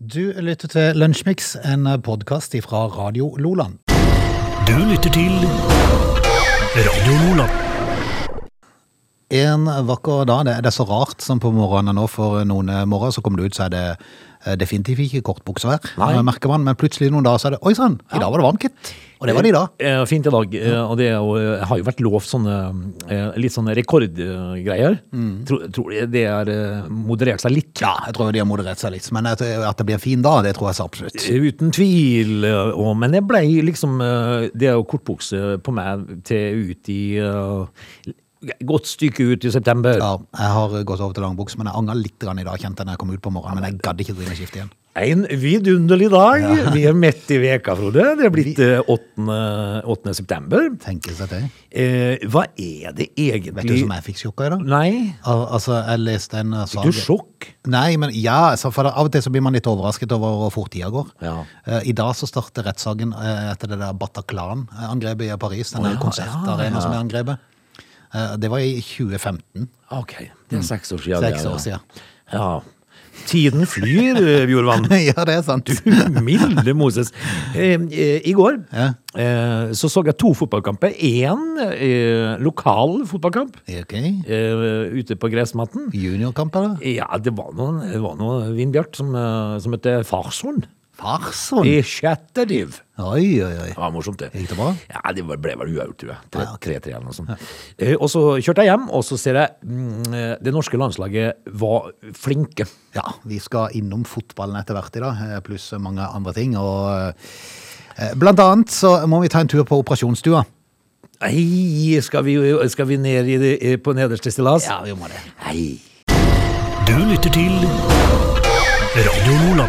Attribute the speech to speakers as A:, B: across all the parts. A: Du lytter til Lunsjmix, en podkast fra Radio Loland.
B: Du lytter til Radio Lola.
A: En vakker dag, det det er så rart som på morgenen nå, for noen morgener så kommer det ut, så er det eh, definitivt ikke kortbuksevær,
C: Nei.
A: eh, merker man, men plutselig noen dager så er det, oi sann, i dag var det varmt, gitt. Og det var det i dag.
C: Eh, fint i dag. eh, Og det er jo, eh, har jo vært lovt sånne eh, litt sånne rekordgreier. Tror, tror jeg det er eh, moderert seg litt.
A: Mm. Ja, jeg tror de har moderert seg litt, men at, at det blir en fin dag, det tror jeg så absolutt.
C: Eh, Uten tvil. eh, Og, men jeg blei liksom eh, Det er jo kortbukse på meg til ut i eh, Godt stykke ut i september.
A: Ja, jeg har gått over til langbuks, men jeg angrer litt grann i dag, kjente jeg når jeg kom ut på morgenen, men jeg gadde ikke drive med skift igjen.
C: En vidunderlig dag. Vi er midt i veka, Frode. Det er blitt
A: Vi-
C: eh, 8. 8. september.
A: Tenker seg til.
C: Eh, hva er det egentlig
A: Vet du som jeg fikk sjokka i dag?
C: Nei.
A: Al altså, jeg leste en eh, sak.
C: Du sjokk.
A: Nei, men ja, altså, for av og til så blir man litt overrasket over hvor fort tida går.
C: Ja.
A: Eh, I dag så starter rettssaken eh, etter det der Bataclan-angrepet i Paris, den
C: Å,
A: der
C: ja,
A: konsertarena
C: ja, ja.
A: som er angrepet. Eh, Det var i 2015.
C: Ok, det er seks år siden. det,
A: Seks
C: ja.
A: år siden.
C: Ja. Tiden flyr, eh, Bjorvann.
A: ja, det er sant.
C: Milde Moses. Eh, eh, I går
A: Ja.
C: eh, så så jeg to fotballkamper. Én eh, lokal fotballkamp
A: Ok.
C: eh, ute på gressmatten.
A: Juniorkamp, eller?
C: Ja, det var noen, det var noen Vindbjart som, eh, som het Farsund.
A: Farsson!
C: I sjette div.
A: Oi, oi, oi.
C: Ja, morsomt det.
A: Gikk det bra?
C: Ja, det var- ble vel uavgjort, tror jeg. Tre-
A: Ja, ok.
C: 3-3 eller noe sånt. Eh, Og så kjørte jeg hjem, og så ser jeg mm, eh, det norske landslaget var flinke.
A: Ja, vi skal innom fotballen etter hvert i dag, eh, pluss mange andre ting. Og eh, blant annet så må vi ta en tur på operasjonsstua.
C: Nei, skal vi, skal vi ned i det, eh, på nederste stillas?
A: vi må det.
C: Nei.
B: Du lytter til Radio Lola.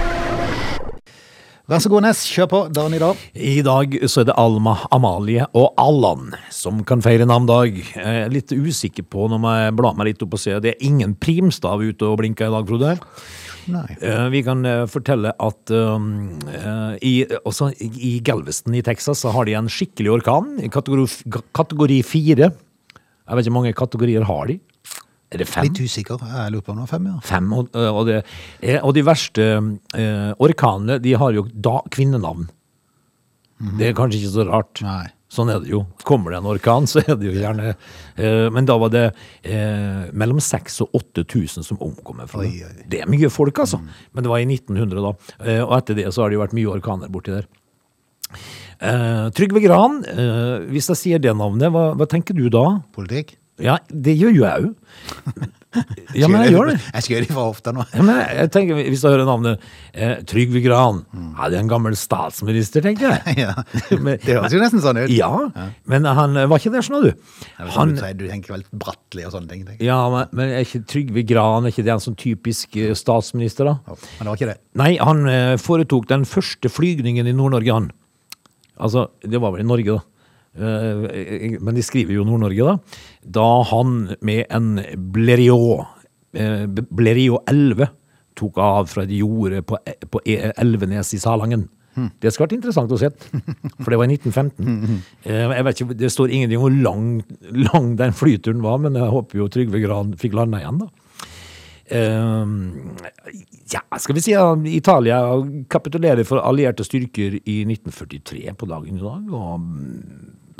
A: Vær så god, Ness. Kjør på. Dagen i dag.
C: I dag så er det Alma, Amalie og Allan som kan feire navndag. Jeg er litt usikker på når jeg blar meg litt opp og ser. Det er ingen primstav ute og blinker i dag, Frode.
A: Nei.
C: Eh, Vi kan eh, fortelle at um, eh, i, også i Galveston i Texas så har de en skikkelig orkan, i kategori, f- kategori 4. Jeg vet ikke hvor mange kategorier har de. Er det fem?
A: Litt usikker. Jeg lurer på om det var fem, ja.
C: Fem, og, og, det, eh, og de verste eh, orkanene, de har jo da kvinnenavn. Det er kanskje ikke så rart.
A: Mhm. Nei.
C: Sånn er det jo. Kommer det en orkan, så er det jo gjerne eh, Men da var det eh, mellom 6000 og 8000 som omkom. her, Frode.
A: Oi, oi. Mm.
C: Det er mye folk, altså. Men det var i 1900, da. Eh, og etter det så har det jo vært mye orkaner borti der. Eh, Trygve Gran, eh, hvis jeg sier det navnet, hva, hva tenker du da?
A: Politikk?
C: Ja, det gjør jo jeg òg. Ja, men jeg gjør det.
A: Jeg skjøt de fra hofta nå.
C: Ja, men jeg tenker, Hvis du hører navnet eh, Trygve Gran
A: Mm.
C: ja, Det er en gammel statsminister, tenker jeg.
A: Ja.
C: Men-
A: Det høres jo nesten sånn ut.
C: Ja, men han eh, var ikke det, skjønner du.
A: Jeg vet ikke om
C: Han,
A: du, sier- du tenker vel Bratteli og sånne ting. tenker jeg.
C: ja, men- men er ikke Trygve Gran er ikke det en sånn typisk eh, statsminister, da?
A: Ja, Men det var ikke det.
C: Nei, han eh, foretok den første flygningen i Nord-Norge, han. Altså, det var vel i Norge, da. Eh, Men de skriver jo Nord-Norge, da. Da han med en Blériot, eh, Blériot 11, tok av fra et jorde på, på E- Elvenes i Salangen. Det skal vært interessant å se, for det var i 1915. Eh, Jeg vet ikke, Det står ingenting om hvor lang, lang den flyturen var, men jeg håper jo Trygve Gran fikk landa igjen, da. Ehm, ja, skal vi si at Italia kapitulerer for allierte styrker i 1943 på dagen i dag. Og mm,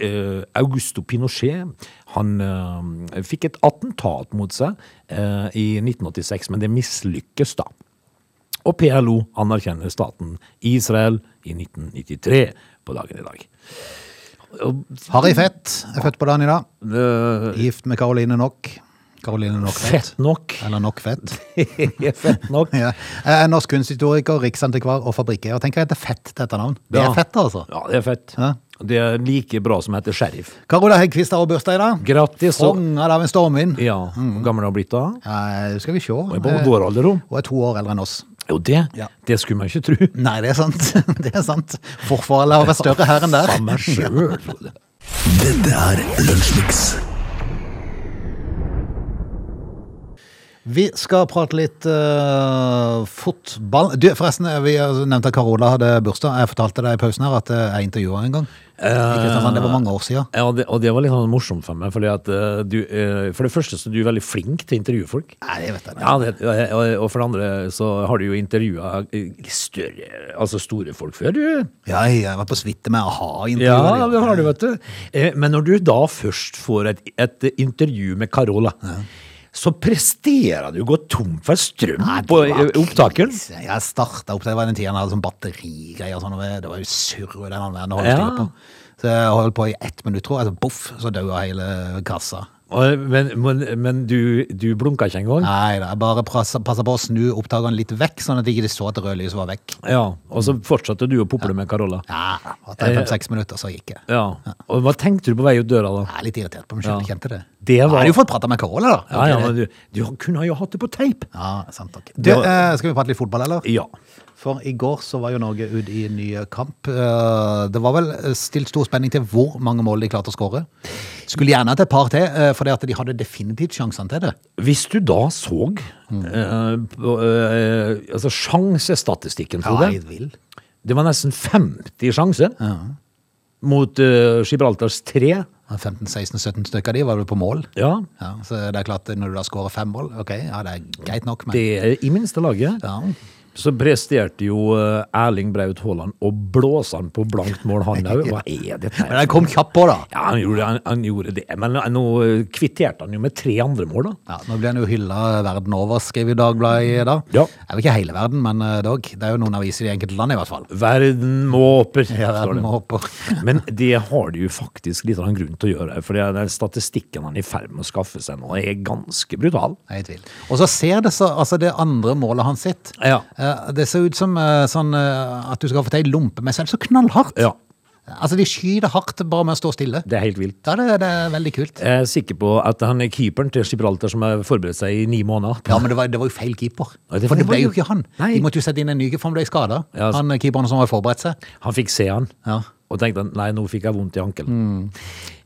C: eh, Augusto Pinochet han eh, fikk et attentat mot seg eh, i 1986, men det mislykkes da. Og PLO anerkjenner staten Israel i 1993 på dagen i dag.
A: Harry Fett er født på dagen i dag.
C: Eh,
A: Gift med Caroline Knock. Caroline Knock
C: fett nok.
A: Eller Knock Fett.
C: fett nok.
A: Ja. Jeg er norsk kunsthistoriker, riksantikvar og fabrikkeier. Tenker jeg heter Fett til etternavn. Det
C: Ja.
A: er fett, altså.
C: Ja, det er fett.
A: Ja.
C: Det er like bra som heter sheriff.
A: Carola Heggquist har også bursdag i dag.
C: Grattis. Og,
A: Kongen av en stormvind.
C: ja, Hvor gammel har hun blitt da?
A: Mm. Eh, Skal vi se.
C: Hun er på vår alder, hun.
A: Hun er to år eldre enn oss.
C: Jo, det,
A: Ja.
C: det skulle man ikke tro.
A: Nei, det er sant. Det er sant. Forfallet har vært større her enn der.
C: Faen meg sjøl, Frode.
B: Dette er Lunsjmix.
A: Vi skal prate litt eh, fotball. Du, forresten, eh, vi nevnte at Carola hadde bursdag. Jeg fortalte deg i pausen her at eh, jeg intervjua en gang. I Kristiansand, det var mange år siden.
C: Eh, Ja, det, og det var litt sånn morsomt for meg, fordi at eh, du, eh, for det første så er du veldig flink til å intervjue folk.
A: Nei, det vet jeg ikke.
C: Ja, det, og og for det andre så har du jo intervjua større, altså store folk før, du.
A: Ja, jeg var på suite med a-ha-intervjuet.
C: Ja, det har du, vet du. Eh, Men når du da først får et, et intervju med Carola, så presterer du å gå tom for strøm på eh, opptakeren.
A: Jeg starta opp, det var den tiden jeg hadde sånn batterigreier og sånn, og det var jo surr i den all verden å holde
C: Ja.
A: styr på. Så jeg holdt på i ett minutt, tror jeg, så boff, så daua hele kassa.
C: Og- eh, Men, men, men du, du blunka ikke engang?
A: Nei da, jeg bare passa passa på å snu opptakeren litt vekk, sånn at de ikke så at det røde lyset var vekk.
C: Ja, og så fortsatte du å pople med Carola.
A: Ja, etter
C: Eh,
A: fem-seks minutter så gikk jeg.
C: Ja, og hva tenkte du på vei ut døra da?
A: Jeg er litt irritert på meg sjøl,
C: Ja.
A: kjente det.
C: Det
A: Jeg
C: var-
A: hadde jo fått prata med Carola, da.
C: Ja, ja, men du, du kunne jo hatt det på teip.
A: Ja, sant nok. Du,
C: Det var-
A: eh, skal vi prate litt fotball, eller?
C: Ja.
A: For i går så var jo Norge ute i en ny kamp. Eh, Det var vel stilt stor spenning til hvor mange mål de klarte å skåre. Skulle gjerne hatt et par til, for at de hadde definitivt sjansene til det.
C: Hvis du da så eh, på, eh, altså sjansestatistikken, Frode
A: jeg vil.
C: Det var nesten 50 sjanser mot eh, Gibraltars tre.
A: 15-16-17 stykker av de var vel på mål.
C: Ja,
A: Ja, så det er klart, når du da skårer fem mål, ok, ja det er greit nok, men
C: det er i minste laget.
A: ja.
C: Så presterte jo eh, Erling Braut Haaland å blåse han på blankt mål, han òg. Hva er dette?
A: Men
C: her?
A: den kom kjapt på, da.
C: Ja, han gjorde, han, han gjorde det, men nå eh, kvitterte han jo med tre andre mål, da.
A: Ja, nå ble han jo hylla verden over, skrev jo Dagbladet i dag.
C: Ja.
A: Det er jo ikke hele verden, men eh, dog. Det er jo noen aviser i enkelte land, i hvert fall.
C: Verden
A: Ja,
C: måper. står det.
A: verden håper.
C: Men det har de jo faktisk litt av en grunn til å gjøre. For det er den statistikken han er i ferd med å skaffe seg nå, er ganske brutal.
A: Jeg er i tvil. Og så ser det så, altså det andre målet hans sitt.
C: Ja.
A: Eh, Det ser ut som eh, sånn eh, at du skal få til ei lompe med selv, så knallhardt.
C: Ja.
A: Altså de skyter hardt bare med å stå stille.
C: Det er helt vilt.
A: Da er det, det er veldig kult.
C: Jeg er sikker på at han er keeperen til Gibraltar som har forberedt seg i ni måneder.
A: Ja, men det var, det var jo feil keeper.
C: Ja, det
A: for det
C: var
A: ble
C: jo-
A: jo ikke han.
C: Nei.
A: De måtte jo sette inn en ny, for han ble skada.
C: Ja, altså.
A: Han eh, keeperen som hadde forberedt seg.
C: Han fikk se han,
A: Ja. Mm.
C: og tenkte at nei, nå fikk jeg vondt i ankelen.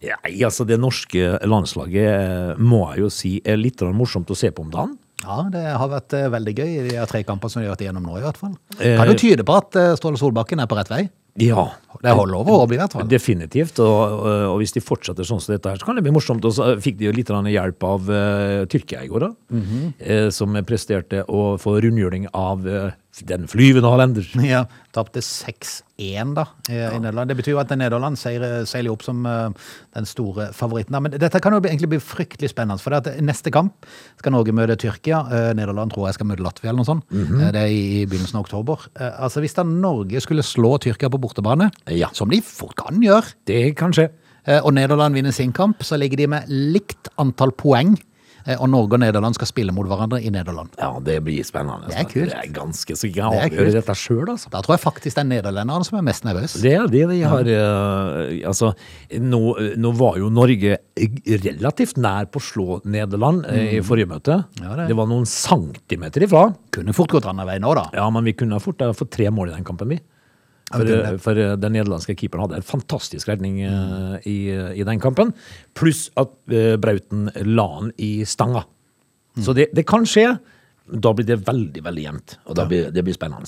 C: Nei, altså det norske landslaget eh, må jeg jo si er litt grann morsomt å se på om dagen.
A: Ja, det har vært eh, veldig gøy i de her tre kampene som de har vært igjennom nå, i hvert fall.
C: Eh.
A: Kan jo tyde på at eh, Ståle Solbakken er på rett vei.
C: Ja.
A: Det holder over å bli, i hvert fall.
C: Definitivt, og, og hvis de fortsetter sånn som dette her, så kan det bli morsomt. Og så fikk de jo litt grann hjelp av eh, Tyrkia i går, da.
A: Mhm.
C: eh, som presterte å få rundhjuling av eh, den flyvende hollender.
A: Ja, tapte 6-1 da i i Nederland. Det betyr jo at Nederland seier- seiler opp som eh, den store favoritten. Da. Men dette kan jo bli- egentlig bli fryktelig spennende, for det at neste kamp skal Norge møte Tyrkia. Eh, Nederland tror jeg skal møte Latvia eller noe sånt. Eh, Det er i i begynnelsen av oktober. Eh, Altså hvis da Norge skulle slå Tyrkia på bortebane,
C: Ja.
A: som de fort kan gjøre,
C: Det kan skje.
A: eh, og Nederland vinner sin kamp, så ligger de med likt antall poeng, eh, og Norge og Nederland skal spille mot hverandre i Nederland.
C: Ja, det blir spennende.
A: Det er kult.
C: Det er ganske så jeg
A: Det er
C: avgjør
A: kult.
C: dette sjøl, altså.
A: Da tror jeg faktisk det er nederlenderne som er mest nervøs.
C: Det er det de har eh, Altså, nå, nå var jo Norge relativt nær på å slå Nederland eh, i forrige møte.
A: Ja, det er.
C: det var noen centimeter ifra.
A: Kunne fort gått andre veien nå da.
C: Ja, men vi kunne ha fort ha fått tre mål i den kampen, vi.
A: vi
C: For,
A: kunne
C: eh, for eh, den nederlandske keeperen hadde en fantastisk redning eh, i, i den kampen. Pluss at eh, Brauten la han i stanga.
A: Mm.
C: Så det, det kan skje. Da blir det veldig, veldig jevnt. Og da blir, det blir spennende.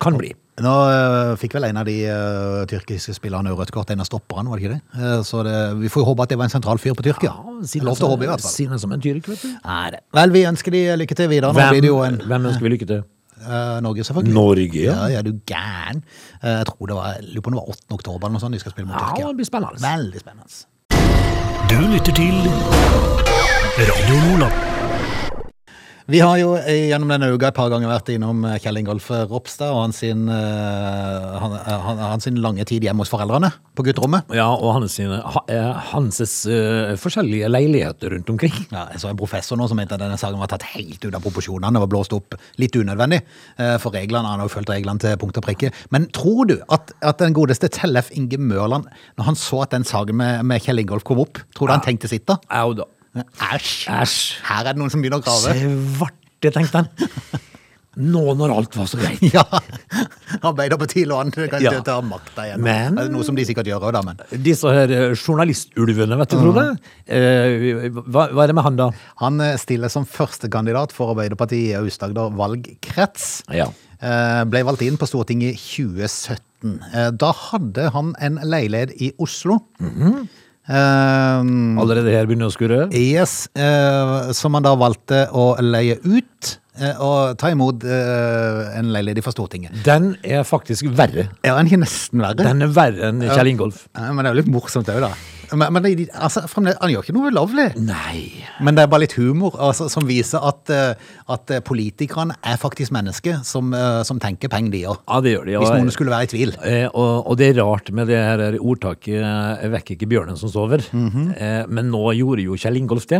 C: Kan bli.
A: Nå øh, fikk vel en av de øh, tyrkiske spillerne jo rødt kort, en av stopperne, var det ikke det? Eh, så det, vi får jo håpe at det var en sentral fyr på Tyrkia.
C: siden altså,
A: Lov til å håpe i hvert fall.
C: Siden som en tyrk, vet du.
A: Nei, det. Vel, vi ønsker de lykke til videre. Nå blir det jo en
C: Hvem, hvem ønsker vi lykke til?
A: eh, Norge, selvfølgelig.
C: Norge,
A: Ja,
C: ja.
A: ja, du gæren. Eh, jeg tror det var, jeg lurer på om det var 8. oktober eller noe sånt de skal spille mot
C: Ja,
A: Tyrkia.
C: det blir spennende.
A: Veldig spennende.
B: Du lytter til Radio Nordland.
A: Vi har jo eh, gjennom denne uka et par ganger vært innom eh, Kjell Ingolf Ropstad og hans, sin, eh, han, eh, han, hans sin lange tid hjemme hos foreldrene på gutterommet.
C: Ja, og hans, sine, ha- eh, Hanses eh, forskjellige leiligheter rundt omkring.
A: Ja, jeg så en professor nå som mente at denne saken var tatt helt ut av proporsjonene og blåst opp litt unødvendig. eh, For reglene, han har jo fulgt reglene til punkt og prikke. Men tror du at, at den godeste Tellef Inge Mørland, når han så at den saken med, med Kjell Ingolf kom opp, tror du han tenkte sitt da?
C: Au da.
A: Æsj!
C: Æsj.
A: Her er det noen som begynner å grave.
C: Svarte, tenkte han. Nå når alt var så greit.
A: Ja, Arbeiderpartiet lå an til kanskje
C: Ja.
A: å ta makta igjen.
C: Men-
A: Altså, Noe som de sikkert gjør òg, da. Men
C: Disse her eh, journalistulvene, vet du, Frode. Eh, hva, hva er det med han, da?
A: han eh, stiller som førstekandidat for Arbeiderpartiet i Aust-Agder valgkrets.
C: Ja.
A: Eh, Ble valgt inn på Stortinget i 2017. Eh, Da hadde han en leilighet i Oslo. Mhm. Eh,
C: Allerede her begynner å skurre?
A: Yes, eh, som han da valgte å leie ut eh, og ta imot eh, en leilighet fra Stortinget.
C: Den er faktisk verre.
A: Er han ikke nesten verre?
C: Den er verre enn Kjell Ingolf.
A: Eh. Ja, Men det er jo litt morsomt òg, da. Men, men de- altså, fremdeles, han gjør ikke noe ulovlig.
C: Nei.
A: Men det er bare litt humor altså, som viser at, eh, at eh, politikerne er faktisk mennesker som, eh, som tenker penger, de òg.
C: Ja, det gjør de.
A: Hvis
C: og-
A: noen skulle være i tvil.
C: Eh, og, og det er rart med det her ordtaket eh, 'vekk ikke bjørnen som sover'.
A: Mhm.
C: eh, men nå gjorde jo Kjell Ingolf det,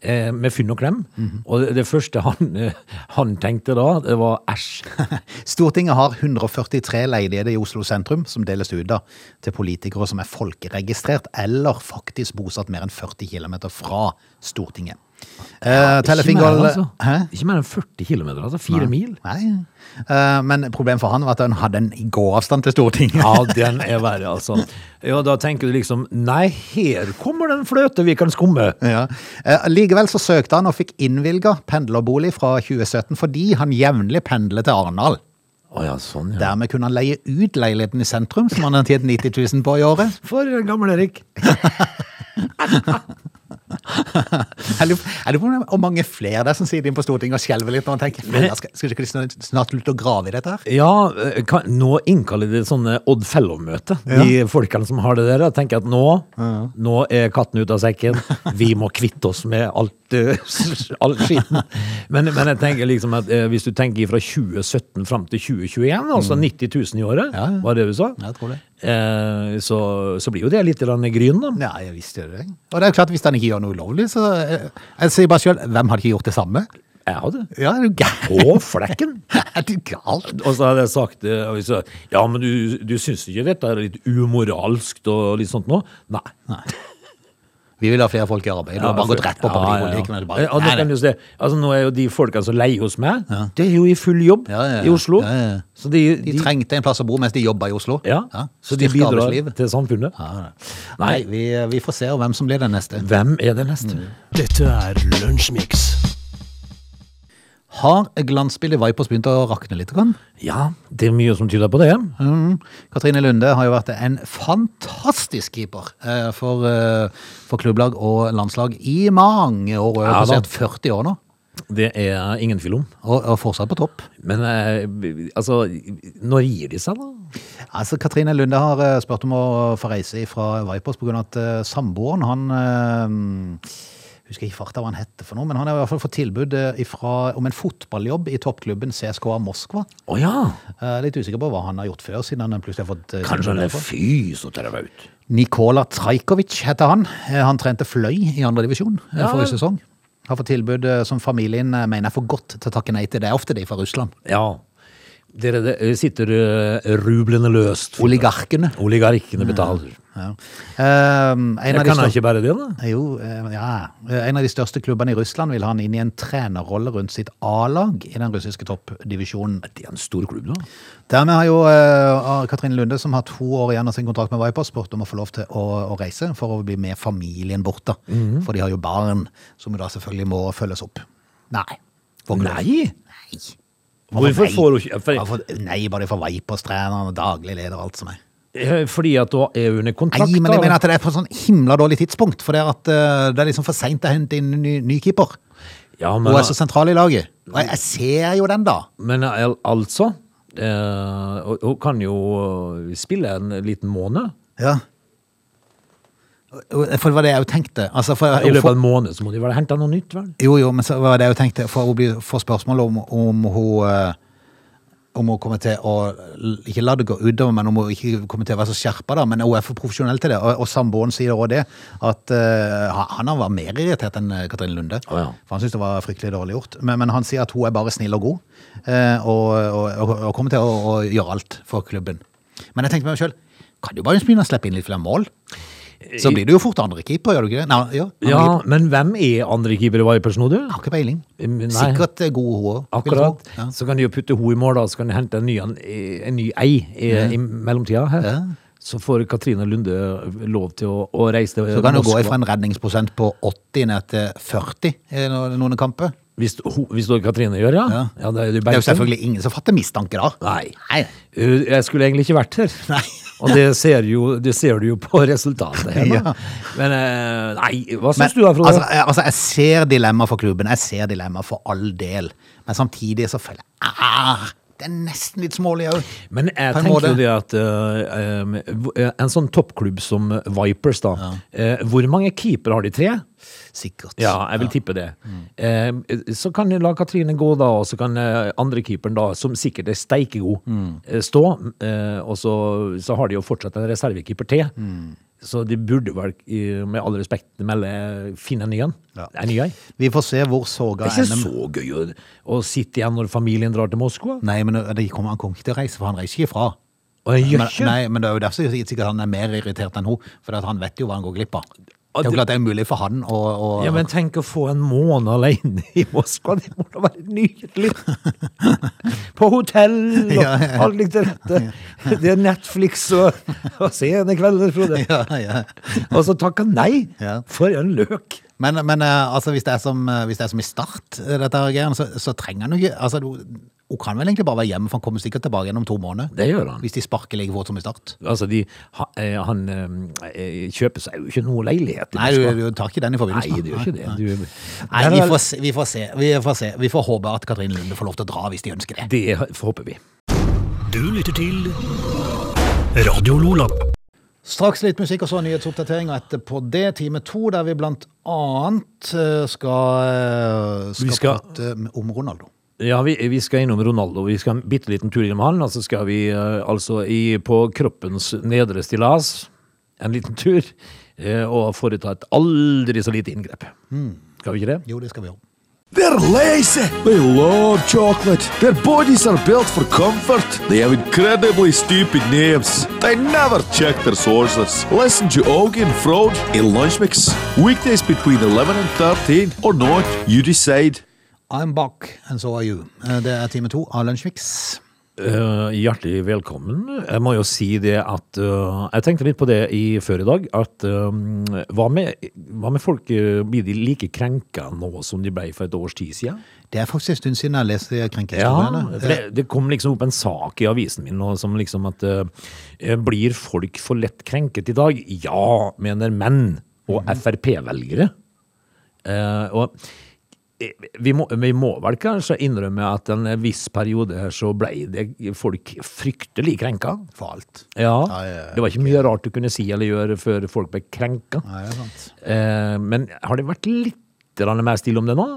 C: eh, med Fynn og Klem.
A: Mhm.
C: Og det, det første han, eh, han tenkte da, det var 'æsj'.
A: Stortinget har 143 leiligheter i Oslo sentrum som deles ut da, til politikere som er folkeregistrert eller faktisk bosatt mer enn 40 km fra Stortinget. Eh,
C: ikke,
A: Tellefingerl-
C: mer, altså.
A: Hæ?
C: ikke mer enn 40 km, altså. Fire mil.
A: Nei. Eh, men problemet for han var at han hadde en gåavstand til Stortinget.
C: Ja, den er verre, altså. Ja, da tenker du liksom 'nei, her kommer den fløte vi kan skumme'.
A: Ja. Eh, Likevel så søkte han og fikk innvilga pendlerbolig fra 2017 fordi han jevnlig pendler til Arendal.
C: Å ja, sånn, ja.
A: Dermed kunne han leie ut leiligheten i sentrum, som han har tjent 90 000 på i året.
C: For gamle Erik.
A: Jeg lurer jeg lurer på om det er- hvor mange flere der som sitter inn på Stortinget og skjelver litt når han tenker «Men jeg skal, skal ikke de snart, snart slutte å grave i dette her?
C: Ja, eh, kan, nå innkaller de sånne Odd Fellow-møte. De folkene som har det der, da tenker jeg at nå, nå er katten ut av sekken. Vi må kvitte oss med alt, eh, all skitten. Men, men jeg tenker liksom at eh, hvis du tenker fra 2017 fram til 2021, altså 90 000 i året,
A: Mm. Ja, ja.
C: var det du sa?
A: Ja, jeg tror det.
C: Eh, så, så blir jo det litt grann gryn, da.
A: Nei, jeg visste jo det. Og det er jo klart, hvis han ikke gjør noe ulovlig, så eh, Jeg sier bare sjøl, hvem hadde ikke gjort det samme?
C: Jeg hadde.
A: Ja, er du gæren?
C: På flekken!
A: Er du gal?
C: Og så hadde jeg sagt eh, og så, Ja, men du, du syns ikke dette er litt umoralsk og litt sånt nå? Nei.
A: Vi vil ha flere folk i arbeid. Du har bare gått rett på partipolitikken. og det er bare-
C: altså, Ja, og nå
A: Nei, nei.
C: kan du se, altså Nå er jo de folkene som leier hos meg, det er jo i full jobb
A: Ja, ja, ja.
C: i Oslo.
A: Ja, ja, ja.
C: Så de,
A: De
C: de,
A: trengte en plass å bo mens de jobba i Oslo.
C: ja, så de
A: Styrke
C: bidrar
A: arbeidsliv.
C: til samfunnet.
A: Ja, ja.
C: Nei,
A: Nei, Mm. vi, vi får se hvem som blir den neste.
C: hvem er det neste?
B: Dette er Lunsjmix.
A: Har glansbildet Vipers begynt å rakne litt? Kan?
C: Ja, det er mye som tyder på det.
A: Mm. Katrine Lunde har jo vært en fantastisk keeper eh, for, eh, for klubblag og landslag i mange år. Hun har
C: Ja, da.
A: passert 40 år nå,
C: Det er ingen tvil om.
A: og, og fortsatt på topp.
C: Men eh, altså, når gir de seg, da?
A: Altså, Katrine Lunde har eh, spurt om å få reise fra Vipers pga. at eh, samboeren han eh, husker ikke farta hva han hette for noe, men han har i hvert fall fått tilbud eh, ifra, om en fotballjobb i toppklubben CSKA Moskva.
C: Å ja!
A: Eh, Litt usikker på hva han har gjort før, siden han plutselig har fått eh,
C: Kanskje han
A: tilbud
C: er
A: derfra.
C: fysioterapeut?
A: Nikola Trajkovic heter han. Eh, Han trente fløy i andredivisjon
C: Ja.
A: divisjon eh, forrige sesong. Har fått tilbud eh, som familien eh, mener er for godt til å takke nei til. Det er ofte de fra Russland.
C: Ja. Dere det sitter eh, rublende løst.
A: Oligarkene.
C: Oligarkene betaler.
A: Ja. Eh, En av
C: Jeg
A: de
C: kan da
A: største
C: ikke bare det, da?
A: Jo, eh, ja. En av de største klubbene i Russland vil ha han inn i en trenerrolle rundt sitt A-lag i den russiske toppdivisjonen.
C: Det er en stor klubb, da.
A: Dermed har jo eh, Katrine Lunde, som har to år igjen av sin kontrakt med Viper, spurt om å få lov til å, å reise for å bli med familien bort. da.
C: Mhm.
A: For de har jo barn, som jo da selvfølgelig må følges opp. Nei. Får ikke lov.
C: Nei!
A: Nei.
C: Hvorfor
A: nei?
C: får hun ikke- for-
A: Bare for- Nei, bare for Vipers-treneren og daglig leder og alt som er.
C: Eh, Fordi at da er hun under kontrakt.
A: Nei, men jeg
C: da.
A: mener at det er på sånn himla dårlig tidspunkt. For det er, at, eh, det er liksom for seint å hente inn ny, ny keeper.
C: ja, men,
A: Hun er så sentral i laget. Og jeg, jeg ser jo den, da.
C: men al- altså eh, Hun hun kan jo eh, spille en liten måned.
A: Ja. For det var det jeg jo tenkte. Altså, for,
C: I løpet av en måned så må de vel hente noe nytt, vel?
A: Jo, jo, men så var det jeg tenkte, for hun blir- får spørsmål om, om hun eh, om hun kommer til å l- ikke la det gå utover, men om hun ikke kommer til å være så skjerpa, da. Men hun er for profesjonell til det. Og, og samboeren sier òg det, at eh, han- han var mer irritert enn eh, Katrine Lunde.
C: Å, ja.
A: For han syntes det var fryktelig dårlig gjort. Men, men han sier at hun er bare snill og god, eh, og, og, og, og kommer til å, å gjøre alt for klubben. Men jeg tenkte meg sjøl, kan du bare begynne å slippe inn litt flere mål? Så blir du jo fort andre keeper, gjør du ikke det? Nei, jo, andre
C: Ja,
A: keeper.
C: men hvem er andre keeper i Vipers nå, du?
A: Jeg har ikke peiling.
C: Mm, Nei.
A: Sikkert eh, god hår.
C: Akkurat.
A: Ja.
C: Så kan de jo putte henne i mål, da, så kan de hente en ny, en, en ny ei i, i mellomtida. her.
A: Ja.
C: Så får Katrine Lunde eh, lov til å, å reise til
A: Så kan du gå
C: Moskva.
A: ifra en redningsprosent på 80 ned til 40 i no- noen kamper.
C: Hvis, ho- hvis det Katrine gjør, ja?
A: Ja.
C: ja det, er jo
A: Det er jo
C: Bergstrøm.
A: selvfølgelig ingen som fatter mistanke da.
C: Nei.
A: Nei.
C: Uh, Jeg skulle egentlig ikke vært her.
A: Nei.
C: Og det ser, jo, det ser du jo på resultatet her nå.
A: Ja.
C: Men eh, nei, hva
A: Men,
C: syns du da, Frode?
A: altså, jeg, altså, jeg ser dilemma for klubben, jeg ser dilemma for all del. Men samtidig så føler jeg ah, Det er nesten litt smålig òg.
C: Men jeg
A: På en
C: tenker
A: måte.
C: jo det at eh, em, hvor- eh, en sånn toppklubb som Vipers, da. eh, hvor mange keepere har de? Tre?
A: Sikkert.
C: Ja, jeg vil tippe det. Eh, så kan jeg la Katrine gå, da, og så kan eh, andre keeperen, da, som sikkert er steikegod,
A: Mm.
C: eh, stå. eh, og så, så har de jo fortsatt en reservekeeper til.
A: Mm.
C: Så de burde vel, eh, med all respekt melde, finne en ny en.
A: Ja.
C: En ny ei.
A: Vi får se hvor såga
C: Det er ikke
A: NM
C: så gøy å, å sitte igjen når familien drar til Moskva.
A: Nei, men det kommer, han kommer ikke til å reise, for han reiser ikke ifra.
C: Og jeg gjør
A: Men,
C: ikke.
A: nei, men det er jo derfor sikkert han er mer irritert enn hun, for at han vet jo hva han går glipp av. Det er jo
C: det-
A: klart det er mulig for han å å-
C: Ja, men tenk å få en måned alene i Moskva. Det må da være nydelig! På hotell og
A: Ja, ja.
C: alt ligger til rette. Det er Netflix og, og sene kvelder, Frode.
A: ja, ja.
C: Og så takka nei!
A: Ja.
C: For en løk!
A: Men, men eh, altså, hvis, det er som, eh, hvis det er som i start, eh, dette her greiene, så, så trenger han jo ikke altså, du, Hun kan vel egentlig bare være hjemme, for han kommer sikkert tilbake igjen om to måneder.
C: Det gjør han.
A: Hvis de sparker like fort som i start.
C: Altså, de, ha- eh, han eh, kjøper seg jo ikke noe leilighet i
A: Nei, du,
C: Moskva.
A: du tar ikke den i
C: Nei,
A: forbindelse.
C: det gjør ikke det. Du,
A: Nei, vi får, se, vi, får se, vi får se. Vi får håpe at Katrin Lunde får lov til å dra hvis de ønsker det.
C: Det håper vi.
B: Du lytter til Radio Lola.
A: Straks litt musikk og så nyhetsoppdatering, og etterpå det time to, der vi blant annet eh, skal, eh,
C: Vi
A: skal,
C: skal-
A: prate om Ronaldo.
C: Ja, vi, vi skal innom Ronaldo. Vi skal en bitte liten tur innom han. Og så skal vi eh, altså i, på kroppens nedre stillas en liten tur eh, og foreta et aldri så lite inngrep. Skal vi ikke det?
A: Jo, det skal vi gjøre.
D: They're lazy. They love chocolate. Their bodies are built for comfort. They have incredibly stupid names. They never check their sources. Listen to Augie and Frode in Lunch Mix. Weekdays between 11 and 13 or not, you decide.
A: I'm back, and so are you. Eh, Det er time to av Lunsjmix.
C: Eh, hjertelig velkommen. Jeg må jo si det at eh, Jeg tenkte litt på det i, før i dag. At eh, hva, med, hva med folk eh, Blir de like krenka nå som de ble for et års tid siden?
A: Det er faktisk en stund siden jeg leste Eh,
C: Ja,
A: krenkehistoriene.
C: for det, det kom liksom opp en sak i avisen min nå, som liksom at eh, Blir folk for lett krenket i dag? Ja, mener menn og
A: Mhm.
C: Frp-velgere. Eh, og eh, vi må, vi må vel kanskje innrømme at en viss periode her så ble det folk fryktelig krenka.
A: For alt.
C: Ja,
A: Ja, ja, ja.
C: Det var ikke mye rart du kunne si eller gjøre før folk ble krenka.
A: Nei, det er sant.
C: Eh, men har det vært litt grann mer stille om det nå?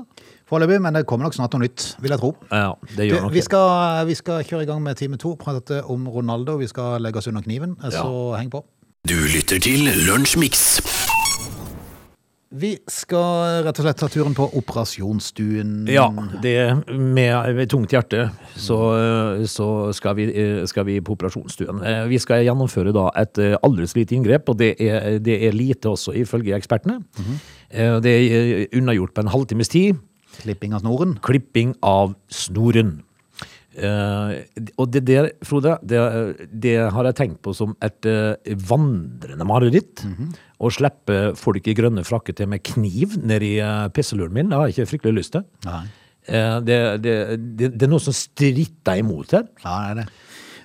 A: Foreløpig, men det kommer nok snart noe nytt, vil jeg tro.
C: Ja, det
A: Du,
C: gjør nok
A: vi,
C: det.
A: skal, vi skal kjøre i gang med time to, prate om Ronaldo. Vi skal legge oss under kniven, så heng på.
B: Du lytter til Lunsjmix.
A: Vi skal rett og slett ta turen på operasjonsstuen.
C: Ja, det med tungt hjerte så, så skal, vi, eh, skal vi på operasjonsstuen. Eh, Vi skal gjennomføre da et eh, aldri så lite inngrep, og det er, det er lite også ifølge ekspertene. Eh, Det er unnagjort på en halvtimes tid.
A: Klipping av snoren.
C: Klipping av snoren. Eh, og det der, Frode, det, det har jeg tenkt på som et eh, vandrende mareritt. Å slippe folk i grønne frakker til med kniv ned i eh, pisseluren min, det har jeg ikke fryktelig lyst til.
A: Nei.
C: Eh, Det, det, det, det er noe som stritter imot her.
A: Ja, det er det.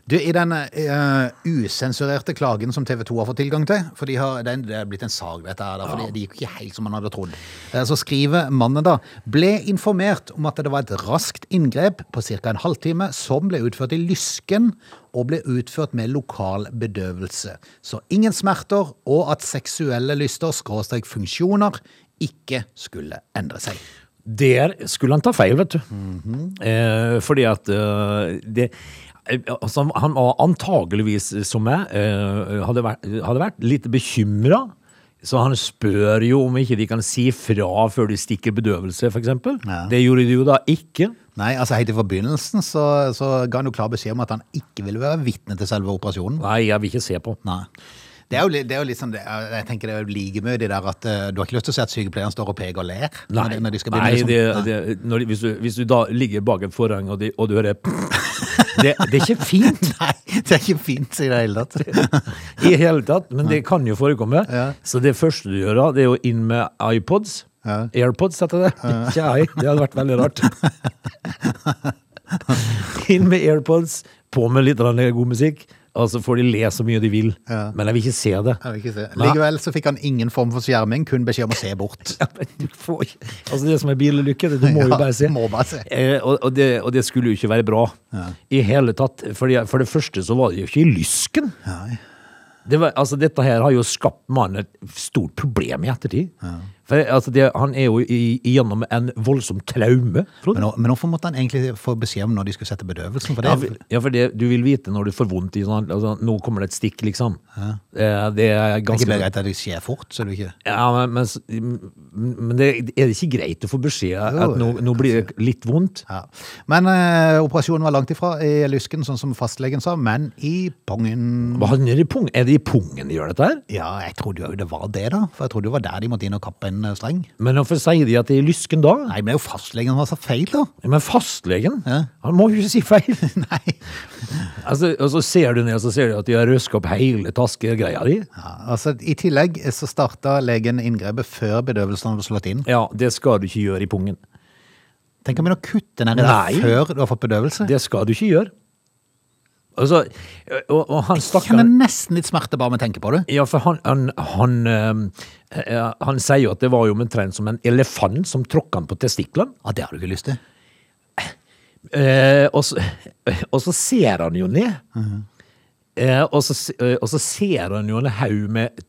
A: Du, I den eh, usensurerte klagen som TV 2 har fått tilgang til for de har, det, er, det er blitt en sag, dette her, da, for det- det gikk ikke helt som man hadde trodd. Eh, så skriver mannen da ble informert om at det var et raskt inngrep på ca. en halvtime som ble utført i lysken og ble utført med lokal bedøvelse. Så ingen smerter, og at seksuelle lyster, skråstrek funksjoner, ikke skulle endre seg.
C: Der skulle han ta feil, vet du.
A: Mhm.
C: eh, fordi at eh, det eh, altså, Han var antageligvis, som meg, eh, hadde vært, hadde vært litt bekymra. Så han spør jo om ikke de kan si fra før de stikker bedøvelse, f.eks.
A: Ja.
C: Det gjorde de jo da ikke.
A: Nei, altså Helt i forbindelsen så, så ga han jo klar beskjed om at han ikke ville være vitne til selve operasjonen.
C: Nei, jeg vil ikke se på.
A: Nei. Det er jo, li- det er jo litt sånn, det er, jeg tenker det er jo ligemødig der at eh, du har ikke lyst til å se at sykepleieren står og peker og ler. når de- når de skal begynne
C: nei,
A: liksom-
C: det,
A: Nei.
C: det, når, hvis, du, hvis du da ligger bak et forheng og, de, og du hører det, det er ikke fint
A: Nei, det er ikke fint i det hele tatt.
C: i hele tatt, men det kan jo forekomme.
A: Ja.
C: Så det første du gjør da, det er jo inn med iPods.
A: Ja.
C: Airpods heter det. Ikke i. Det hadde vært veldig rart. inn med AirPods, på med litt grann god musikk, og så får de le så mye de vil.
A: Ja.
C: Men jeg vil ikke se det.
A: Jeg vil ikke se.
C: Nei.
A: Likevel så fikk han ingen form for skjerming, kun beskjed om å se bort.
C: Ja, men du får ikke- Altså det som er bilulykke, det du må jo
A: Ja,
C: bare se.
A: må bare se.
C: Eh, og, og, det, og det skulle jo ikke være bra i hele tatt. Fordi, for det første så var det jo ikke i lysken. Det var, altså, dette her har jo skapt mannen et stort problem i ettertid. For altså, det, han er jo i, igjennom en voldsom traume. Frode.
A: Men, nå, men hvorfor måtte han egentlig få beskjed om når de skulle sette bedøvelsen? For det,
C: Ja, for, ja, for det, du vil vite når du får vondt i sånn altså, Nå kommer det et stikk, liksom. Eh, det er
A: det er ikke
C: ganske
A: bare greit at det skjer fort, så du ikke
C: Ja, men, men, s- men det, er det ikke greit å få beskjed at nå, nå blir det litt vondt?
A: ja. Men eh, operasjonen var langt ifra i lysken, sånn som fastlegen sa, men i pongen.
C: Hva handler det i pung? Er det i pungen de gjør dette her?
A: Ja, jeg trodde jo det var det, da. For jeg trodde det var der de måtte inn og kappe en eh, streng.
C: Men hvorfor sier de at det er i lysken da?
A: Nei, men det er jo fastlegen som har sagt feil, da.
C: Men fastlegen,
A: Ja.
C: han må jo ikke si feil.
A: Nei.
C: altså, og så ser du ned, og så ser du at de har røska opp hele taskegreia di.
A: Ja, altså, I tillegg så starta legen inngrepet før bedøvelsen hadde slått inn.
C: Ja, det skal du ikke gjøre i pungen.
A: Tenk om vi nå kutter ned i
C: Nei.
A: det før du har fått bedøvelse.
C: Det skal du ikke gjøre. Altså, og, og han
A: Jeg kjenner
C: stakkaren
A: nesten litt smerte bare med å tenke på det.
C: Ja, for han, han, han, eh, eh, han sier jo at det var jo omtrent som en elefant som tråkka han på testiklene.
A: Ja, det har du ikke lyst til.
C: Eh, og, så, og så ser han jo ned. eh, og, så, s- eh, og så ser han jo en haug med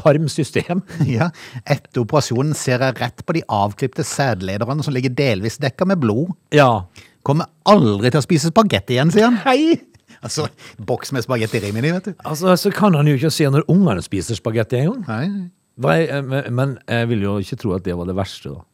C: tarmsystem.
A: Ja, Etter operasjonen ser jeg rett på de avklipte sædlederne som ligger delvis dekka med blod.
C: Ja.
A: Kommer aldri til å spise spagetti igjen, sier han.
C: Hei!
A: Altså, boks med spagetti rimini, vet du.
C: Altså, så kan han jo ikke se når ungene spiser spagetti engang. eh,
A: Nei, nei.
C: Men men jeg vil jo ikke tro at det var det verste, da.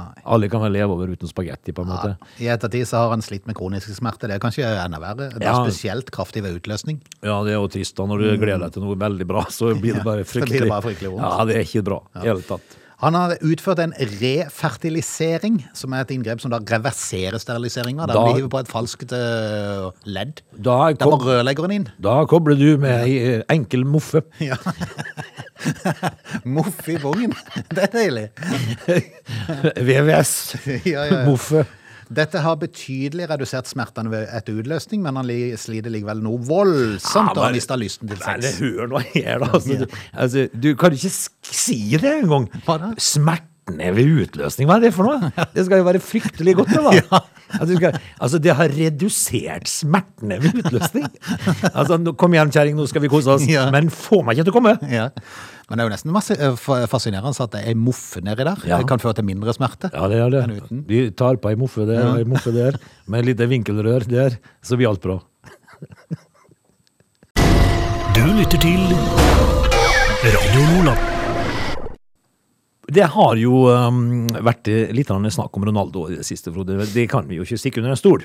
A: nei.
C: Alle kan vel leve over uten spagetti, på en måte.
A: I ettertid så har han slitt med kroniske smerter. Det er kanskje enda verre. Det er
C: Ja.
A: Spesielt kraftig ved utløsning.
C: Ja, det er jo trist da. Når du gleder deg til noe veldig bra, så blir Mm. det bare
A: så blir
C: fryktelig.
A: det bare fryktelig vondt.
C: Ja, det er ikke bra i hele tatt.
A: Han har utført en refertilisering, som er et inngrep som da reverserer steriliseringa. Der
C: Da-
A: de hiver på et falskt øh, ledd.
C: Da
A: Der må
C: kom-
A: rørleggeren inn.
C: Da kobler du med ei eh, enkel moffe.
A: Ja. Moff i bongen. Det er deilig.
C: VVS.
A: Ja, ja, ja.
C: Moffe.
A: Dette har betydelig redusert smertene ved etter utløsning, men han li- sliter likevel noe voldsomt og har mista lysten til
C: Nei, det
A: sex.
C: hør nå her, da. Altså, du, altså, du kan jo ikke sk- si det engang.
A: Hva da?
C: Smertene ved utløsning, hva er det for noe? Det skal jo være fryktelig godt, det, da. At du skal, altså, det har redusert smertene ved utløsning. Altså, nå, kom igjen, kjerring, nå skal vi kose oss.
A: Ja.
C: Men få meg ikke til å komme.
A: Ja. Men det er jo nesten masse, eh, fa- fascinerende at det er moffe nedi der.
C: Ja.
A: Det kan føre til mindre smerte.
C: Ja, det er
A: enn
C: det.
A: uten.
C: Vi tar på ei moffe der og ei moffe der, med et lite vinkelrør der, så blir alt bra.
B: Du lytter til Radio Lola.
C: Det har jo um, vært eh, litt grann snakk om Ronaldo i det siste, Frode. Det kan vi jo ikke stikke under en stol.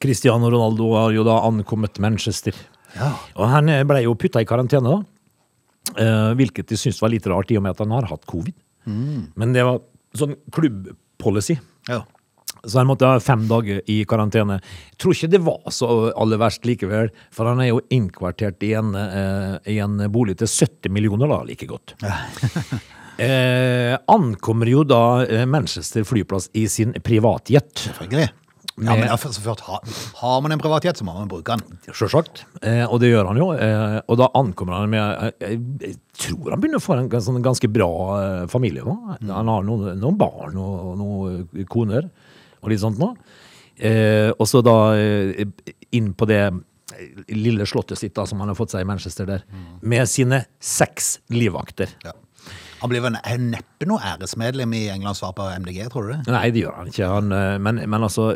C: Cristiano Ronaldo har jo da ankommet Manchester.
A: Ja.
C: Og han eh, ble jo putta i karantene, da. Eh, hvilket de syntes var litt rart, i og med at han har hatt covid. Men det var sånn klubbpolicy.
A: Ja.
C: Så han måtte ha fem dager i karantene. Jeg tror ikke det var så aller verst likevel, for han er jo innkvartert i en, eh, i en bolig til 70 millioner, da, like godt. eh, ankommer jo da eh, Manchester flyplass i sin privatjet,
A: Selvfølgelig. Ja, men altså, først, har, har man en privatjet, så må man bruke den.
C: sjølsagt. Eh, og det gjør han jo. Eh, og da ankommer han med eh, Jeg tror han begynner å få en gans- sånn ganske bra eh, familie nå. Han har noen, noen barn og noen koner og litt sånt nå. Eh, og så da eh, inn på det eh, lille slottet sitt da, som han har fått seg i Manchester der, med sine seks livvakter.
A: Ja. Han blir vel ne- neppe noe æresmedlem i Englands svar på MDG, tror du det?
C: Nei, det gjør han ikke. Han, eh, men, men altså,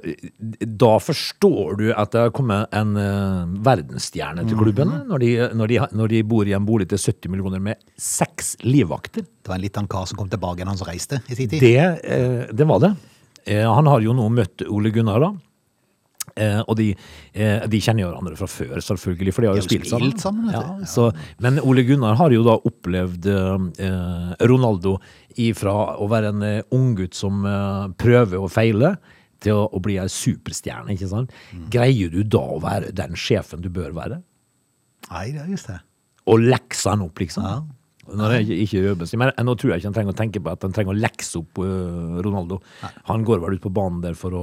C: da forstår du at det har kommet en eh, verdensstjerne til klubben når, de, når, de, når de bor i en bolig til 70 millioner med seks livvakter.
A: Det var en liten kar som kom tilbake enn han som reiste i sin tid.
C: Det, eh, det var det. Eh, han har jo nå møtt Ole Gunnar, da. Eh, og de, eh, de kjenner jo hverandre fra før, selvfølgelig, for de har jo
A: jo
C: spilt sammen.
A: spilt sammen, vet du. Ja.
C: så, men Ole Gunnar har jo da opplevd eh, Ronaldo ifra å være en eh, unggutt som eh, prøver og feiler, til å, å bli ei superstjerne, ikke sant?
A: Mm.
C: Greier du da å være den sjefen du bør være?
A: Nei, det er just det.
C: Og lekse han opp, liksom? Når jeg ikke, ikke Røbens. Men nå tror jeg ikke han trenger å tenke på at han trenger å lekse opp eh, Ronaldo. Han går vel ut på banen der for å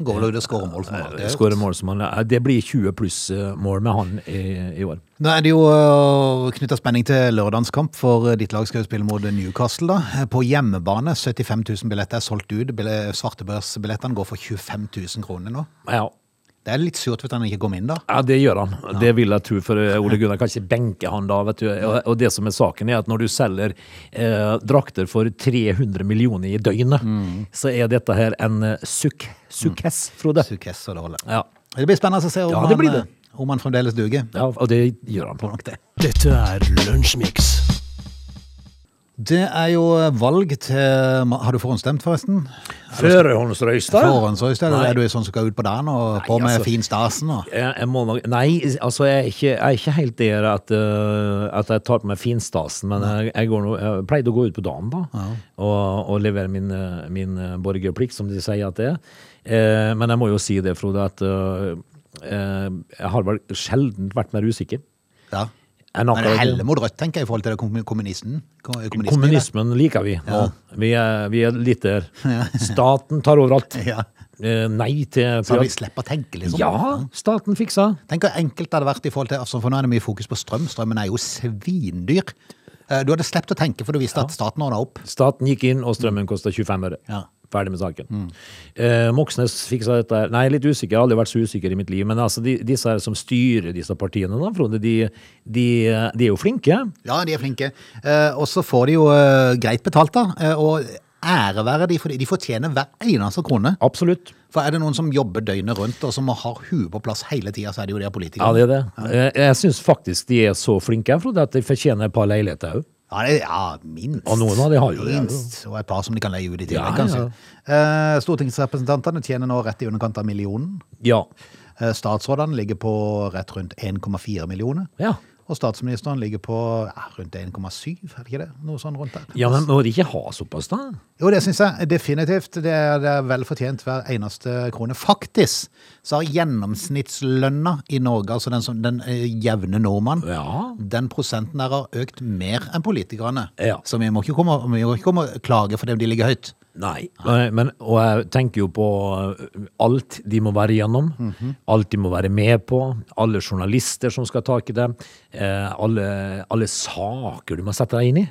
A: Går vel ut og skårer mål for noe.
C: skåre mål som han eh, Det blir 20 pluss eh, mål med han i, i år.
A: Nå er det jo øh, knyttet spenning til lørdagens kamp, for øh, ditt lag skal jo spille mot Newcastle. da. Eh, På hjemmebane, 75 000 billetter er solgt ut. Bille- øh, Svartebørsbillettene går for 25 000 kroner nå.
C: Ja.
A: Det er litt surt at han ikke kom inn, da.
C: Ja, det gjør han. Det vil jeg tro, for eh, Ole Gunnar kan ikke benke han da. vet du. Og og det som er saken, er at når du selger eh, drakter for 300 millioner i døgnet, så er dette her en eh, sukk, sukkess, Frode.
A: Sukes og det holder.
C: Ja.
A: Det blir spennende å se om,
C: Ja, det blir det.
A: Han, øh, om han fremdeles duger.
C: ja, og det gjør han på nok det.
B: Dette er Lunsjmix.
A: Det er jo øh, valg til øh, Har du forhåndsstemt, forresten?
C: Førehåndsrøysta?
A: Forhåndsrøyst, eller er du sånn som skal ut på dagen og på med
C: altså.
A: fin stasen? Og...
C: Jeg, jeg må nok, nei, altså jeg er ikke, jeg er ikke helt der at, eh, at jeg tar på meg finstasen, men jeg, jeg, går nå, jeg pleide å gå ut på dagen da, og, og levere min, eh, min eh, borgerplikt, som de sier at det er. Eh, men jeg må jo si det, Frode, at eh, eh, jeg har vel sjelden vært mer usikker.
A: Ja.
C: enn
A: Men
C: akkurat-
A: helle mot rødt, tenker jeg, i forhold til det kommun- kommunisten. Ko- kommunisten i det.
C: Kommunismen liker vi nå. Vi, er, vi er litt der. Staten tar overalt.
A: Ja.
C: Eh, nei til
A: Så vi slipper å tenke, liksom.
C: Ja, staten fiksa.
A: Tenk hvor enkelt det hadde vært i forhold til altså For nå er det mye fokus på strøm. Strømmen er jo svindyr. Eh, Du hadde sluppet å tenke, for du visste at staten ordna opp.
C: Staten gikk inn, og strømmen kosta 25 øre.
A: Ja.
C: Ferdig med saken. Eh, Moxnes fiksa dette. her. Nei, litt usikker. Jeg har aldri vært så usikker i mitt liv. Men altså, de, disse her som styrer disse partiene, da, Frode, de, de, de er jo flinke.
A: Ja, de er flinke. Eh, Og så får de jo eh, greit betalt, da. Eh, Og ære være de, for de fortjener hver eneste krone.
C: Absolutt.
A: For er det noen som jobber døgnet rundt, og som har huet på plass hele tida, så er det jo de
C: Ja,
A: politikerne.
C: det er det. Eh, Jeg syns faktisk de er så flinke, Frode, at de fortjener et par leiligheter òg.
A: Ja, det, ja, minst.
C: Og noen av de har jo det, ja.
A: Minst, Og et par som de kan leie ut i tillegg,
C: Ja, ja.
A: kanskje. Eh, Stortingsrepresentantene tjener nå rett i underkant av millionen.
C: Ja.
A: Eh, Statsrådene ligger på rett rundt 1,4 millioner.
C: Ja.
A: Og statsministeren ligger på ja, rundt 1,7, er det ikke det? Noe sånn rundt der.
C: ja, men må de ikke ha såpass, da?
A: Jo, det syns jeg definitivt. Det er, det er vel fortjent hver eneste krone. Faktisk så har gjennomsnittslønna i Norge, altså den, som, den eh, jevne nordmann,
C: Ja.
A: den prosenten der har økt mer enn politikerne.
C: Ja.
A: Så vi må ikke komme, vi må ikke komme og klage fordi de ligger høyt.
C: Nei, men, men, og jeg tenker jo på ø, alt de må være igjennom, alt de må være med på, alle journalister som skal ha tak i det, eh, alle, alle saker du må sette deg inn i.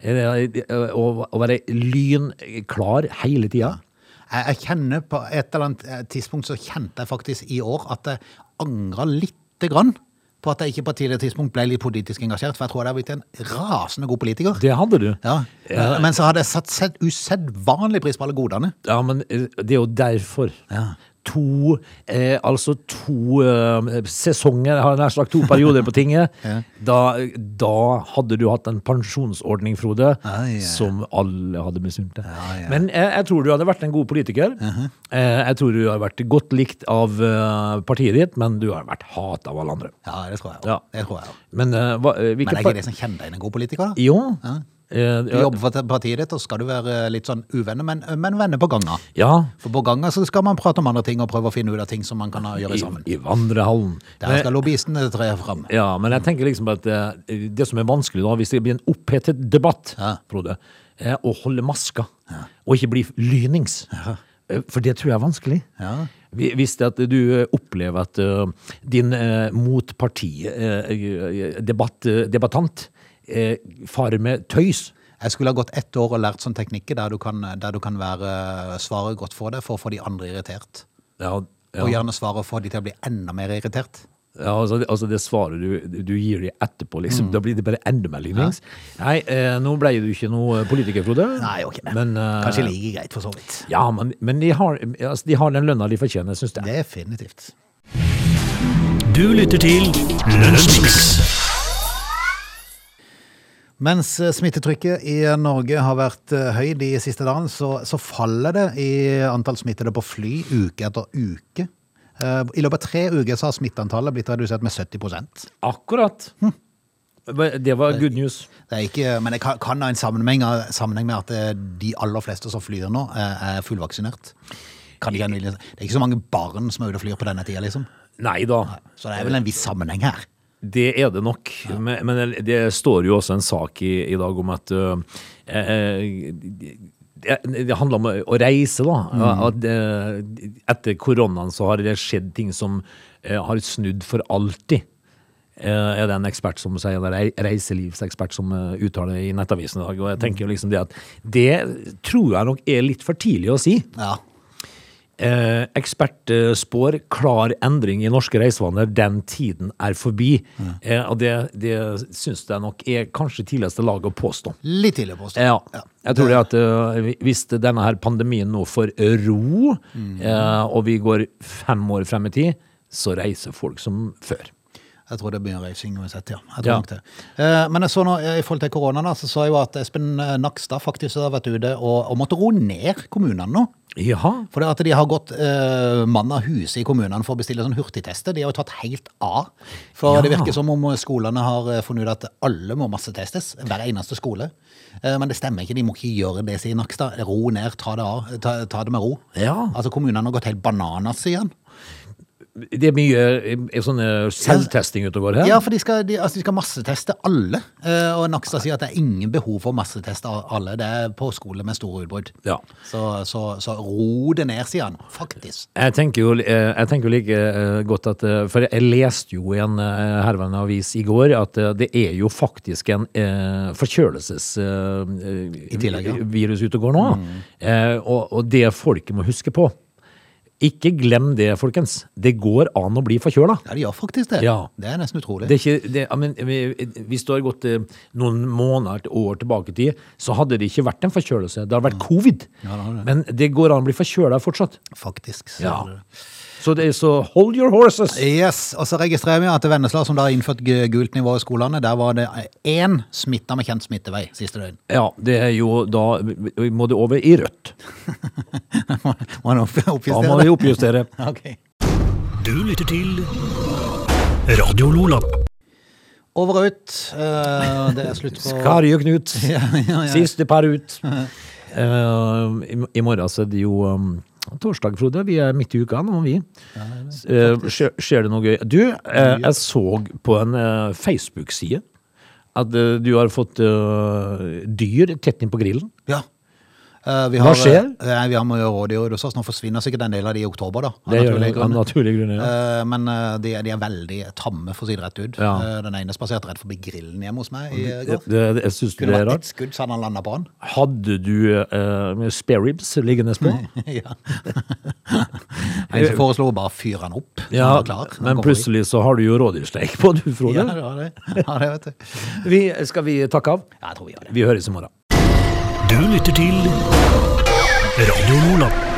C: Eh, det- Og, og være lynklar hele tida.
A: Jeg, jeg kjenner på et eller annet eh, tidspunkt så kjente jeg faktisk i år at jeg angra lite grann på at jeg ikke på et tidligere tidspunkt ble litt politisk engasjert, for jeg tror jeg hadde blitt en rasende god politiker.
C: Det hadde du.
A: Ja. Men- Men så hadde jeg satt sett usedvanlig pris på alle godene.
C: Ja, men eh, det er jo derfor.
A: Ja.
C: To, eh, altså to eh, sesonger, har jeg nær sagt to perioder på tinget. da, da hadde du hatt en pensjonsordning, Frode,
A: Ah, Ja, ja, ja.
C: som alle hadde misunt deg.
A: ja. Uh-huh.
C: Men eh, jeg tror du hadde vært en god politiker. eh, jeg tror du hadde vært godt likt av eh, partiet ditt, men du har vært hat av alle andre.
A: Ja, det tror jeg.
C: Ja.
A: også. Det tror jeg. også.
C: Men, eh, hva, eh, hvilke
A: Men er ikke det Ah. som kjenner deg igjen en god politiker? da?
C: Jo.
A: Ja.
C: Eh,
A: Du jobber for partiet ditt, og skal du være litt sånn uvenner, men, men venner på ganga.
C: ja.
A: For på ganga så skal man prate om andre ting og prøve å finne ut av ting som man kan ha- gjøre
C: I,
A: sammen.
C: I vandrehallen.
A: Der skal lobbyistene tre fram.
C: Ja, men
A: Mm.
C: jeg tenker liksom at eh, det som er vanskelig da, hvis det blir en opphetet debatt,
A: Ja.
C: Frode, er å holde maska, og ikke bli lynings. Eh, For det tror jeg er vanskelig.
A: Ja.
C: Hvi- Hvis det at du eh, opplever at eh, din eh, motparti-debattant eh, debattant, eh, farer med tøys
A: Jeg skulle ha gått ett år og lært sånn teknikker der du kan, der du kan være svaret godt for deg for å få de andre irritert.
C: ja,
A: Og
C: ja,
A: gjerne svaret for de til å bli enda mer irritert.
C: ja, altså, det- altså det svaret du, du gir dem etterpå,
A: Mm.
C: liksom. Da blir det bare enda mer lynings. Nei, eh, nå ble du ikke noe politiker, Frode. Men, eh,
A: Kanskje like greit, for så vidt.
C: Ja, men, men de, har, altså, de har den lønna de fortjener, syns jeg.
A: Definitivt.
B: Du lytter til Lunsjmix.
A: Mens eh, smittetrykket i Norge har vært eh, høy de siste dagene, så, så faller det i antall smittede på fly uke etter uke. Eh, I løpet av tre uker så har smitteantallet blitt redusert med 70
C: Akkurat. Det var good news.
A: Det er ikke, men det kan, kan ha en sammenheng, sammenheng med at eh, de aller fleste som flyr nå, eh, er fullvaksinert. Kan ikke, det er ikke så mange barn som er ute og flyr på denne tida, liksom.
C: Nei da.
A: Så det er vel en viss sammenheng her.
C: Det er det nok, men, men det står jo også en sak i, i dag om at øh, eh, det, det handler om å reise, da. At, eh, etter koronaen så har det skjedd ting som eh, har snudd for alltid. Eh, er det en ekspert som sier, eller ei- reiselivsekspert som eh, uttaler i Nettavisen i dag. Og jeg tenker jo liksom det at det tror jeg nok er litt for tidlig å si.
A: Ja.
C: Eh, ekspert eh, spår klar endring i norske reisevaner. Den tiden er forbi. Eh, og det, det syns jeg nok er kanskje tidligste lag å påstå.
A: Litt tidlig å påstå.
C: Ja. Jeg tror det at eh, hvis denne her pandemien nå får ro, eh, og vi går fem år frem i tid, så reiser folk som før.
A: Jeg tror det blir en reising uansett, ja. Jeg tror
C: Ja.
A: nok det. Eh, Men jeg så nå, eh, i forhold til korona, da, så så jeg jo at Espen eh, Nakstad faktisk har vært ute og, og måtte roe ned kommunene nå.
C: Jaha.
A: For det at de har gått eh, mann av huset i kommunene for å bestille sånn hurtigtester. De har jo tatt helt av. For
C: Ja.
A: det virker som om skolene har eh, funnet ut at alle må massetestes. Hver eneste skole. Eh, men det stemmer ikke. De må ikke gjøre det, sier Nakstad. Ro ned, ta det av. Ta, ta det med ro.
C: Ja.
A: Altså kommunene har gått helt bananas, sier han.
C: Det er mye eh, sånne selvtesting ute og går her.
A: Ja, for de skal, de, altså, de skal masseteste alle. Eh, og Nakstad sier at det er ingen behov for å masseteste a- alle. Det er på skole med store utbrudd.
C: Ja.
A: Så, så, så ro det ned, sier han. Faktisk.
C: Jeg tenker jo, eh, jeg tenker jo like eh, godt at eh, For jeg leste jo i en eh, herværende avis i går at eh, det er jo faktisk en eh,
A: I tillegg, ja. Mm.
C: forkjølelsesvirus ute og går nå. Eh, og, og det folket må huske på Ikke glem det, folkens. Det går an å bli forkjøla.
A: Ja, de gjør faktisk det.
C: Ja.
A: Det er nesten utrolig.
C: Det er ikke, det, ja, men, eh, vi- hvis du har gått eh, noen måneder til år tilbake i tid, så hadde det ikke vært en forkjølelse. Det hadde vært covid.
A: Ja, det hadde det.
C: Men det går an å bli forkjøla fortsatt.
A: Faktisk. så
C: Ja.
A: er det det.
C: eh. Så, det, er så hold your horses!
A: Yes, og så registrerer vi at Vennesla, som da har innført gu- gult nivå i skolene, der var det én smitta med kjent smittevei siste døgn.
C: Ja, det er jo da må det over i rødt.
A: Må han opp,
C: Da
A: oppjustere
C: må vi oppjustere.
A: det? Ok.
B: Du lytter til Radio Lola.
A: Over og ut. Eh, det er slutt på
C: Kari og Knut,
A: ja, ja.
C: siste par ut. Eh, i, I morgen så er det jo um, torsdag, Frode. Vi er midt i uka nå, vi. Eh, skjer, skjer det noe gøy? Du, eh, jeg så på en eh, Facebook-side at eh, du har fått eh, dyr tett inn på grillen.
A: Ja. Eh, vi har,
C: skjer?
A: Nei, vi har med rådyr hos oss. altså. Nå forsvinner sikkert en del av de i oktober, da. av
C: Det gjør
A: naturlige
C: det av
A: grunner.
C: naturlige grunner. Ja.
A: Eh, men eh, de, er- de er veldig tamme, for å si det rett ut.
C: Ja.
A: Eh, den ene spaserte rett forbi grillen hjemme hos meg i går.
C: Det, det, det, jeg synes det
A: Kunne
C: er
A: vært
C: rart.
A: ett skudd, så hadde han landa på han.
C: Hadde du uh, spare ribs liggende på?
A: ja. En som foreslo å bare fyre han opp. så
C: Ja,
A: han var klar. Han
C: men
A: kommer
C: plutselig så har du jo rådyrsteik på, du,
A: i.
C: Frode.
A: Ja, det var det. Ja, det vet du.
C: Vi, skal vi takke av?
A: Ja, jeg tror vi gjør det.
C: Vi høres i morgen.
B: Du lytter til Radio Lola.